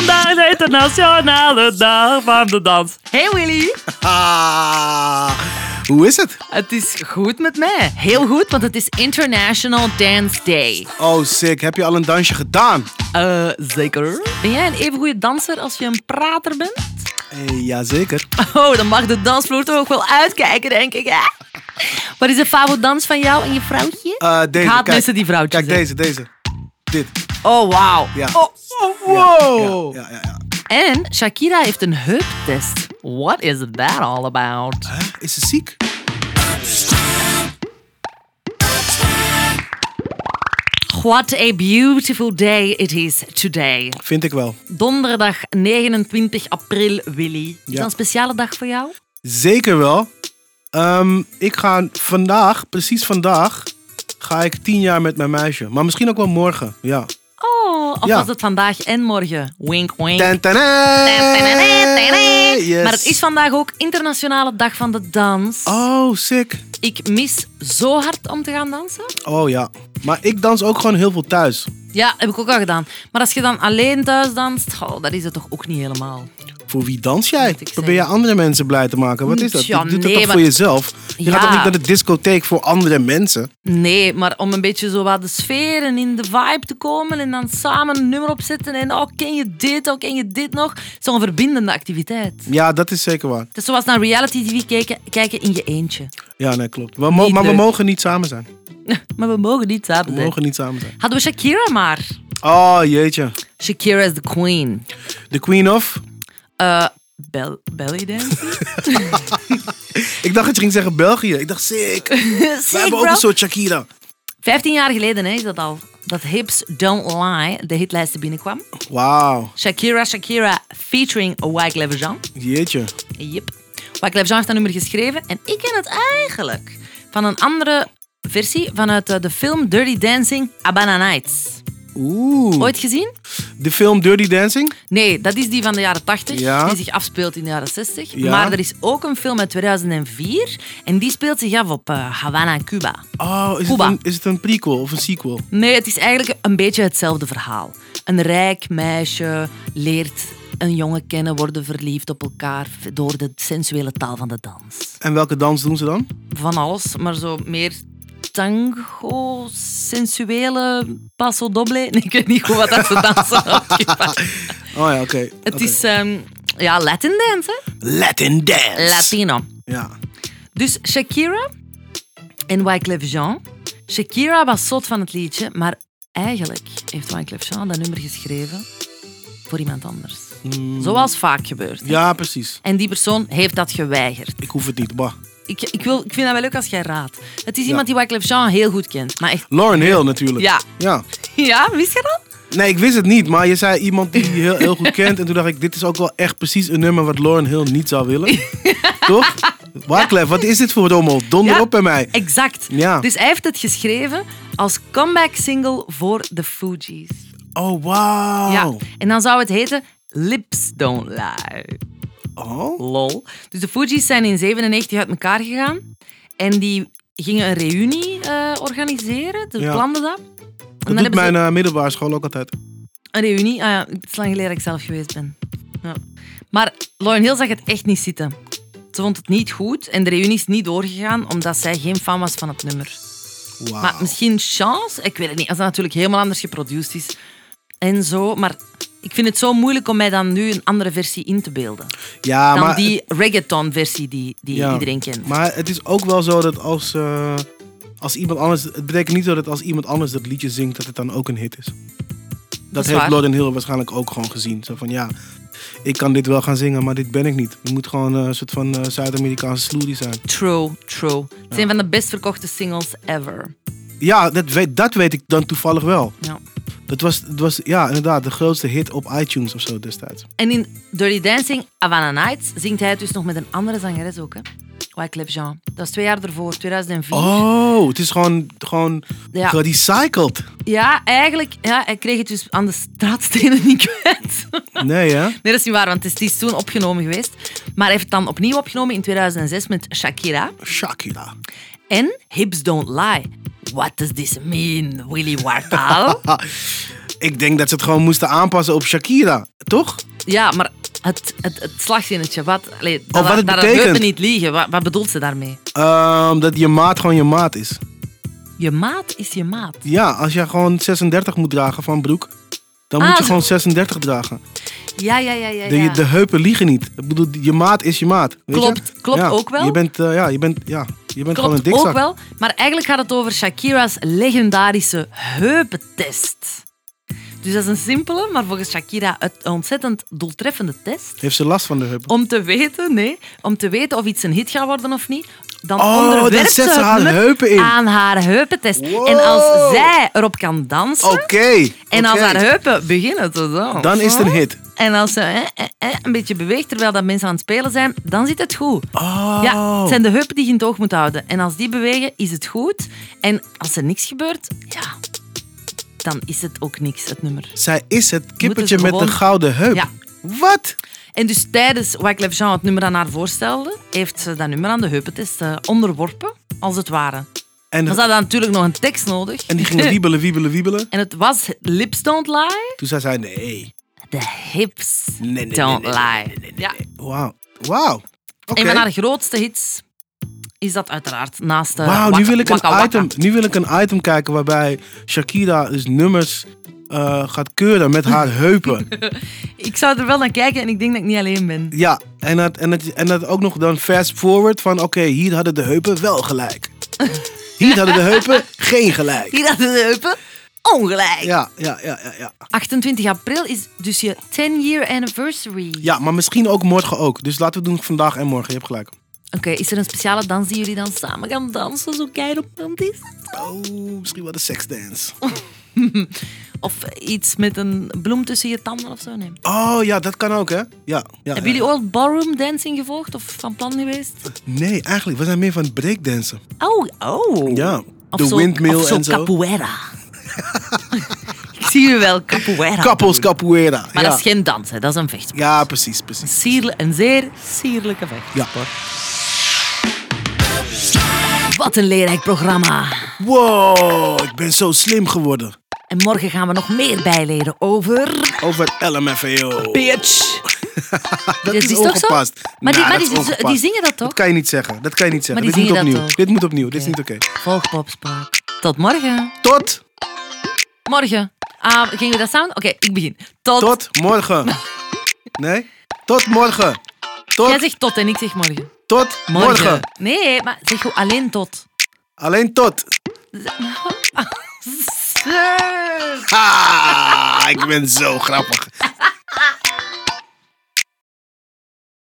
de nationale dag van de dans. Hey Willy, Ah, hoe is het? het is goed met mij. Heel goed, want het is International Dance Day. Oh, sick. Heb je al een dansje gedaan? Eh, zeker. Ben jij een even goede danser als je een prater bent? Eh, jazeker. Oh, dan mag de dansvloer toch ook wel uitkijken, denk ik. Hè? Wat is de favoriete dans van jou en je vrouwtje? Eh, deze, haat kijk. mensen die vrouwtjes Kijk, deze, deze. Dit. Oh, wauw. Ja. Oh, oh, wow. Ja, ja, ja. En Shakira heeft een heuptest. What is that all about? Hè? Is ze ziek? What a beautiful day it is today. Vind ik wel. Donderdag 29 april, Willy. Is Ja. dat een speciale dag voor jou? Zeker wel. Ehm, ik ga vandaag, precies vandaag, ga ik tien jaar met mijn meisje. Maar misschien ook wel morgen. Ja. Oh, of Ja. was het vandaag en morgen? Wink, wink. Ten, ten, Yes. Maar het is vandaag ook Internationale Dag van de Dans. Oh, sick. Ik mis zo hard om te gaan dansen. Oh ja. Maar ik dans ook gewoon heel veel thuis. Ja, heb ik ook al gedaan. Maar als je dan alleen thuis danst, oh, dat is het toch ook niet helemaal. Voor wie dans jij? Moet ik Probeer je zeggen. andere mensen blij te maken? Wat is dat? Tja, je doet dat nee, toch maar- voor jezelf? Je gaat Ja. toch niet naar de discotheek voor andere mensen? Nee, maar om een beetje zo wat de sfeer en in de vibe te komen en dan samen een nummer opzetten en oh, ken je dit, oh, ken je dit nog? Zo'n verbindende activiteit. Ja, dat is zeker waar. Het is zoals naar reality tv kijken, kijken in je eentje. Ja, nee, klopt. We mo- Niet maar we leuk. mogen niet samen zijn. Maar we mogen niet We samen zijn. mogen niet samen zijn. Hadden we Shakira maar. Oh, jeetje. Shakira is de queen. De Queen of? Eh bel belly dance? Ik dacht dat je ging zeggen België. Ik dacht, sick. We Sick, hebben ook bro. een soort Shakira. 15 jaar geleden hè, is dat al. Dat Hips Don't Lie de hitlijsten binnenkwam. Wauw, Shakira, Shakira featuring Wyclef Jean. jeetje. Yep. Wyclef Jean heeft dat nummer geschreven. En ik ken het eigenlijk van een andere versie vanuit eh, de film Dirty Dancing Abana Nights. Oeh. Ooit gezien? De film Dirty Dancing? Nee, dat is die van de jaren 80, Ja. die zich afspeelt in de jaren 60. Ja. Maar er is ook een film uit 2004 en die speelt zich af op eh, Havana, Cuba. Oh, is het, Cuba. een, is het een prequel of een sequel? Nee, het is eigenlijk een beetje hetzelfde verhaal. Een rijk meisje leert een jongen kennen, worden verliefd op elkaar door de sensuele taal van de dans. En welke dans doen ze dan? Van alles, maar zo meer tango, sensuele paso doble. Nee, ik weet niet goed wat dat ze dansen. Oh ja, oké. het oké. is ehm, ja, Latin dance, hè? Latin dance. Latino. Ja. Dus Shakira en Wyclef Jean. Shakira was zot van het liedje, maar eigenlijk heeft Wyclef Jean dat nummer geschreven voor iemand anders. Zoals vaak gebeurt. hè. ja, precies. En die persoon heeft dat geweigerd. Ik hoef het niet. Bah. Ik, ik, wil, ik vind dat wel leuk als jij raadt. Het is iemand die Wyclef Jean heel goed kent. Maar echt, Lauren Hill natuurlijk. Ja. ja. ja, wist je dat? Nee, ik wist het niet, maar je zei iemand die je heel, heel goed kent. En toen dacht ik, dit is ook wel echt precies een nummer wat Lauren Hill niet zou willen. Toch? Wyclef, wat is dit voor rommel? Donder Ja. op bij mij. Exact. Ja. Dus hij heeft het geschreven als comeback single voor de Fugees. Oh, wauw. Ja. En dan zou het heten Lips Don't Lie. Oh? Lol. Dus de Fuji's zijn in 97 uit elkaar gegaan. En die gingen een reunie eh, organiseren. Ze Ja. planden dat. Dat doet mijn eh, middelbare school ook altijd. een reunie. Ah ja, het is lang geleden dat ik zelf geweest ben. Ja. Maar Lauren Hill zag het echt niet zitten. Ze vond het niet goed en de reunie is niet doorgegaan omdat zij geen fan was van het nummer. Maar Wauw. misschien chance, ik weet het niet. Als dat natuurlijk helemaal anders geproduced is en zo. Maar ik vind het zo moeilijk om mij dan nu een andere versie in te beelden. Ja, dan Ah, maar, die reggaeton-versie die, die ja. iedereen kent. maar het is ook wel zo dat als, eh, als iemand anders... Het betekent niet zo dat als iemand anders dat liedje zingt, dat het dan ook een hit is. Dat is heeft waar. Lauren Hill waarschijnlijk ook gewoon gezien. Zo van, ja, ik kan dit wel gaan zingen, maar dit ben ik niet. Het moet gewoon eh, een soort van eh, Zuid-Amerikaanse sloerie zijn. True, true. Het is een van de best verkochte singles ever. Ja, dat weet, dat weet ik dan toevallig wel. Ja. Dat was, dat was ja, inderdaad de grootste hit op iTunes of zo destijds. En in Dirty Dancing, Havana Nights, zingt hij het dus nog met een andere zangeres ook. Hè? Wyclef Jean. Dat was twee jaar ervoor, 2004. Oh, het is gewoon, gewoon Ja. gerecycled. Ja, eigenlijk, ja, hij kreeg het dus aan de straatstenen niet kwijt. Nee, hè? Nee, dat is niet waar, want het is, het is toen opgenomen geweest. Maar hij heeft het dan opnieuw opgenomen in 2006 met Shakira. Shakira. En Hips Don't Lie. What does this mean, Willy Wartaal? Ah, ik denk dat ze het gewoon moesten aanpassen op Shakira, toch? Ja, maar het, het, het slagzinnetje, wat, allee, dat, wat het dat betekent. heupen niet liegen, wat, wat bedoelt ze daarmee? Ehm, dat je maat gewoon je maat is. Je maat is je maat. Ja, als je gewoon 36 moet dragen van broek, dan Ah, moet je zo. gewoon 36 dragen. Ja, ja, ja, ja. De, ja. de heupen liegen niet. Ik bedoel, je maat is je maat. Weet Klopt, je? klopt Ja, ook wel. Je bent, eh, ja, je bent, ja, je bent gewoon een Klopt dikzak. ook wel, maar eigenlijk gaat het over Shakira's legendarische heupentest. Dus dat is een simpele, maar volgens Shakira een ontzettend doeltreffende test. Heeft ze last van de heupen? Om te weten, nee, om te weten of iets een hit gaat worden of niet. Dan Oh, onderwerpt dan zet ze het haar nummer heupen in. Aan haar heupentest. Wow. En als zij erop kan dansen, Oké. en als oké. haar heupen beginnen te dansen, Dan is het een hit. En als ze eh, eh, eh, een beetje beweegt terwijl dat mensen aan het spelen zijn, dan zit het goed. Oh. Ja, het zijn de heupen die je in het oog moet houden. En als die bewegen, is het goed. En als er niks gebeurt, ja, dan is het ook niks, het nummer. Zij is het kippertje ze met gewoon- de gouden heup. Ja. Wat? En dus tijdens Wyclef Jean het nummer aan haar voorstelde, heeft ze dat nummer aan de heupentest eh, onderworpen, als het ware. En, Maar ze hadden natuurlijk nog een tekst nodig. en die gingen wiebelen, wiebelen, wiebelen. En het was Lips Don't Lie, Toen zei zij nee. The Hips Nee, nee, nee, Don't nee, Lie. Ja. Wauw. Wauw. Oké. Een van haar grootste hits is dat uiteraard naast eh, de Wauw, nu wil ik een item- nu wil ik een item kijken waarbij Shakira dus nummers eh, gaat keuren met haar heupen. Ik zou er wel naar kijken en ik denk dat ik niet alleen ben. Ja, en dat, en dat, en dat ook nog dan fast forward van oké, hier hadden de heupen wel gelijk. Hier hadden de heupen geen gelijk. Hier hadden de heupen ongelijk. Ja, ja, ja, ja, ja. 28 april is dus je 10-year anniversary. Ja, maar misschien ook morgen ook. Dus laten we het doen vandaag en morgen. Je hebt gelijk. Oké, is er een speciale dans die jullie dan samen gaan dansen? Zo keiromantisch? Oh, misschien wel de seksdance. Of iets met een bloem tussen je tanden of zo? Nee. Oh ja, dat kan ook hè. Ja, ja, ja. Hebben jullie ooit ballroom dancing gevolgd of van plan geweest? Nee, eigenlijk, we zijn meer van breakdansen. Oh, oh. Ja, Of de zo, windmill of zo en zo. capoeira. Ik zie u wel, capoeira. Couples capoeira. maar ja. dat is geen dans, hè. dat is een vechtsport. ja, precies, precies. Sierl- een zeer sierlijke vechtsport. Ja. Wat een leerrijk programma. Wow, ik ben zo slim geworden. En morgen gaan we nog meer bijleren over... Over LMFAO. Bitch. Dat Dit is, is toch zo? ongepast. Maar die- maar Nou, dat die- is die- ongepast. die zingen dat toch? Dat kan je niet zeggen. Dat kan je niet zeggen. Maar die Dit moet zingen dat opnieuw. toch? Dit moet opnieuw. Dit is niet oké. Volg Popspraak. Tot morgen. Tot, Morgen. Ah, gingen we dat samen? Oké, ik begin. Tot. tot morgen. Nee? Tot morgen. Jij Tot, zegt tot en ik zeg morgen. tot Morgen. morgen. Nee, maar zeg gewoon alleen tot. Alleen tot. Ha, ik ben zo grappig.